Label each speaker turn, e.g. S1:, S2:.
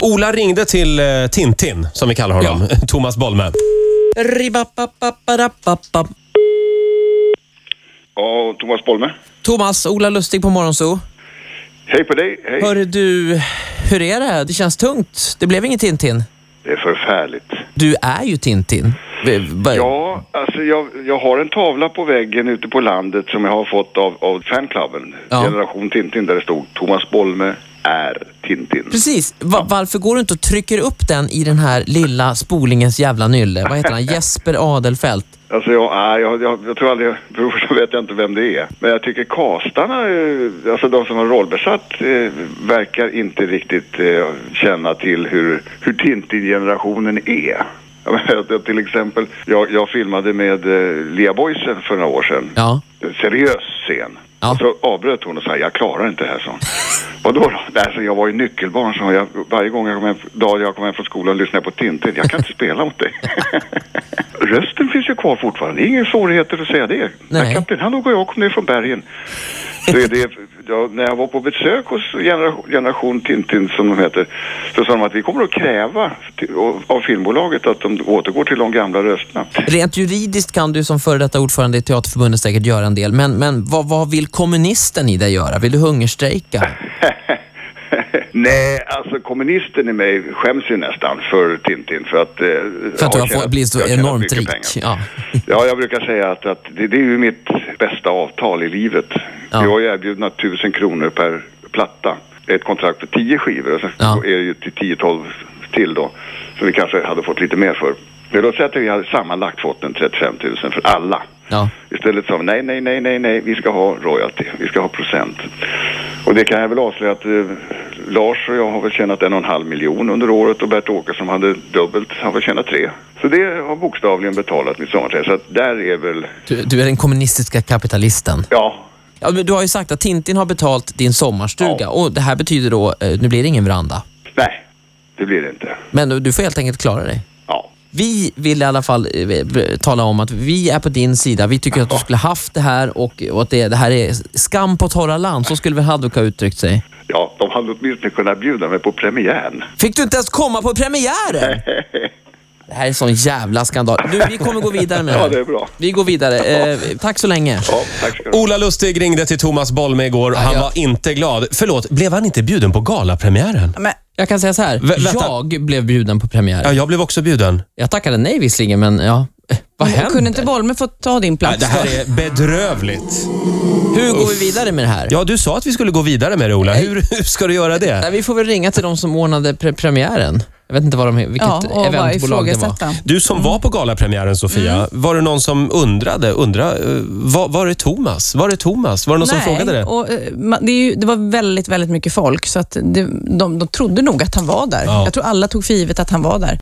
S1: Ola ringde till eh, Tintin, som vi kallar honom. Thomas Bolme.
S2: Ribbapapapadapapap.
S3: Ja, Thomas Bolme.
S2: Thomas, Ola Lustig på Morgonzoo.
S3: Hej på dig. Hej.
S2: Hör du, hur är det? Det känns tungt. Det blev inget Tintin.
S3: Det är förfärligt.
S2: Du är ju Tintin. V- va-
S3: Ja, alltså jag, jag har en tavla på väggen ute på landet som jag har fått av, av fanklubben.
S2: Ja.
S3: Generation Tintin där det stod Thomas Bolme är Tintin.
S2: Precis. Va- varför går du inte och trycker upp den i den här lilla spolingens jävla nylle? Vad heter han? Jesper Adelfält.
S3: Alltså jag, nej, jag, jag, jag tror aldrig, för det första vet jag inte vem det är. Men jag tycker castarna, eh, alltså de som har rollbesatt, eh, verkar inte riktigt eh, känna till hur, hur Tintin-generationen är. Jag menar, jag- Till exempel, jag, jag filmade med eh, Lea Boysen för några år sedan.
S2: Ja.
S3: En seriös scen.
S2: Ja.
S3: Och så avbröt hon och sa, jag klarar inte det här, sa hon. Vadå då? Nej, så jag var ju nyckelbarn, så jag, varje gång jag kom hem, dag jag kom hem från skolan lyssnade jag på Tintin. Jag kan inte spela mot dig. Rösten finns ju kvar fortfarande. Det är inga svårigheter att säga det.
S2: Nej.
S3: När kapten Hannog och jag kom ner från bergen. Så är det, ja, när jag var på besök hos generation, generation Tintin, som de heter, så sa de att vi kommer att kräva till, av filmbolaget att de återgår till de gamla rösterna.
S2: Rent juridiskt kan du som före detta ordförande i Teaterförbundet säkert göra en del, men, men vad, vad vill kommunisten i dig göra? Vill du hungerstrejka?
S3: Nej, alltså kommunisten i mig skäms ju nästan för Tintin för att... eh,
S2: För att du
S3: ja,
S2: har
S3: tjänat-
S2: fått bli så
S3: jag tjänat
S2: enormt
S3: mycket
S2: rik.
S3: pengar.
S2: Ja.
S3: Ja, jag brukar säga att, att det, det är ju mitt bästa avtal i livet.
S2: Ja.
S3: Vi var ju erbjudna 1000 kronor per platta. Ett kontrakt för 10 skivor och sen
S2: Ja.
S3: är det ju till 10-12 till då. Så vi kanske hade fått lite mer för. Men då säger att vi hade sammanlagt fått en 35 000 för alla.
S2: Ja.
S3: Istället sa vi nej, nej, nej, nej, nej, vi ska ha royalty, vi ska ha procent. Och det kan jag väl avslöja att eh, Lars och jag har väl tjänat en och en halv miljon under året och Bert Åkesson hade dubbelt, har väl tjänat tre. Så det har bokstavligen betalat mitt sommarträd. Så att där är väl,
S2: Du, du är den kommunistiska kapitalisten.
S3: ja,
S2: Ja, men du har ju sagt att Tintin har betalt din sommarstuga
S3: Ja.
S2: och det här betyder då, eh, nu blir det ingen veranda.
S3: nej, det blir det inte.
S2: Men du får helt enkelt klara dig.
S3: Ja,
S2: Vi vill i alla fall eh, b- tala om att vi är på din sida. Vi tycker att du skulle haft det här och, och att det, det här är skam på torra land. Så skulle väl Haddock ha uttryckt sig.
S3: ja, de hade åtminstone kunnat bjuda mig på premiären.
S2: Fick du inte ens komma på premiären? Det här är en sån jävla skandal. Du, vi kommer gå vidare med
S3: Ja,
S2: här.
S3: det är bra.
S2: Vi går vidare. Eh, tack så länge.
S3: Ja, tack ska du ha.
S1: Ola Lustig ringde till Thomas Bolme igår. Han
S2: ja.
S1: var inte glad. Förlåt, blev han inte bjuden på galapremiären?
S4: Men
S2: Jag kan säga så här.
S1: vänta.
S2: jag blev bjuden på
S1: Ja,
S2: premiären.
S1: jag blev också bjuden.
S2: Jag tackade nej visserligen, men ja. eh, Vad händer?
S4: kunde inte Bolme få ta din plats?
S1: Nej, det här är bedrövligt.
S2: Hur går vi vidare med det här?
S1: Ja, du sa att vi skulle gå vidare med det, Ola. Hur, hur ska du göra det?
S2: Nej, vi får väl ringa till de som ordnade pre- premiären. Jag vet inte vad de, vilket
S4: ja, och bara
S2: eventbolag det var.
S4: ifrågasätta.
S1: Du som var på galapremiären, Sofia, var det någon som undrade? undra, eh, var, var är Thomas? Var är Thomas? Var det någon som frågade det?
S4: Och, eh, ma- det, är ju, det var väldigt, väldigt mycket folk, så att det, de, de trodde nog att han var där.
S1: Ja.
S4: Jag tror alla tog för givet att han var där.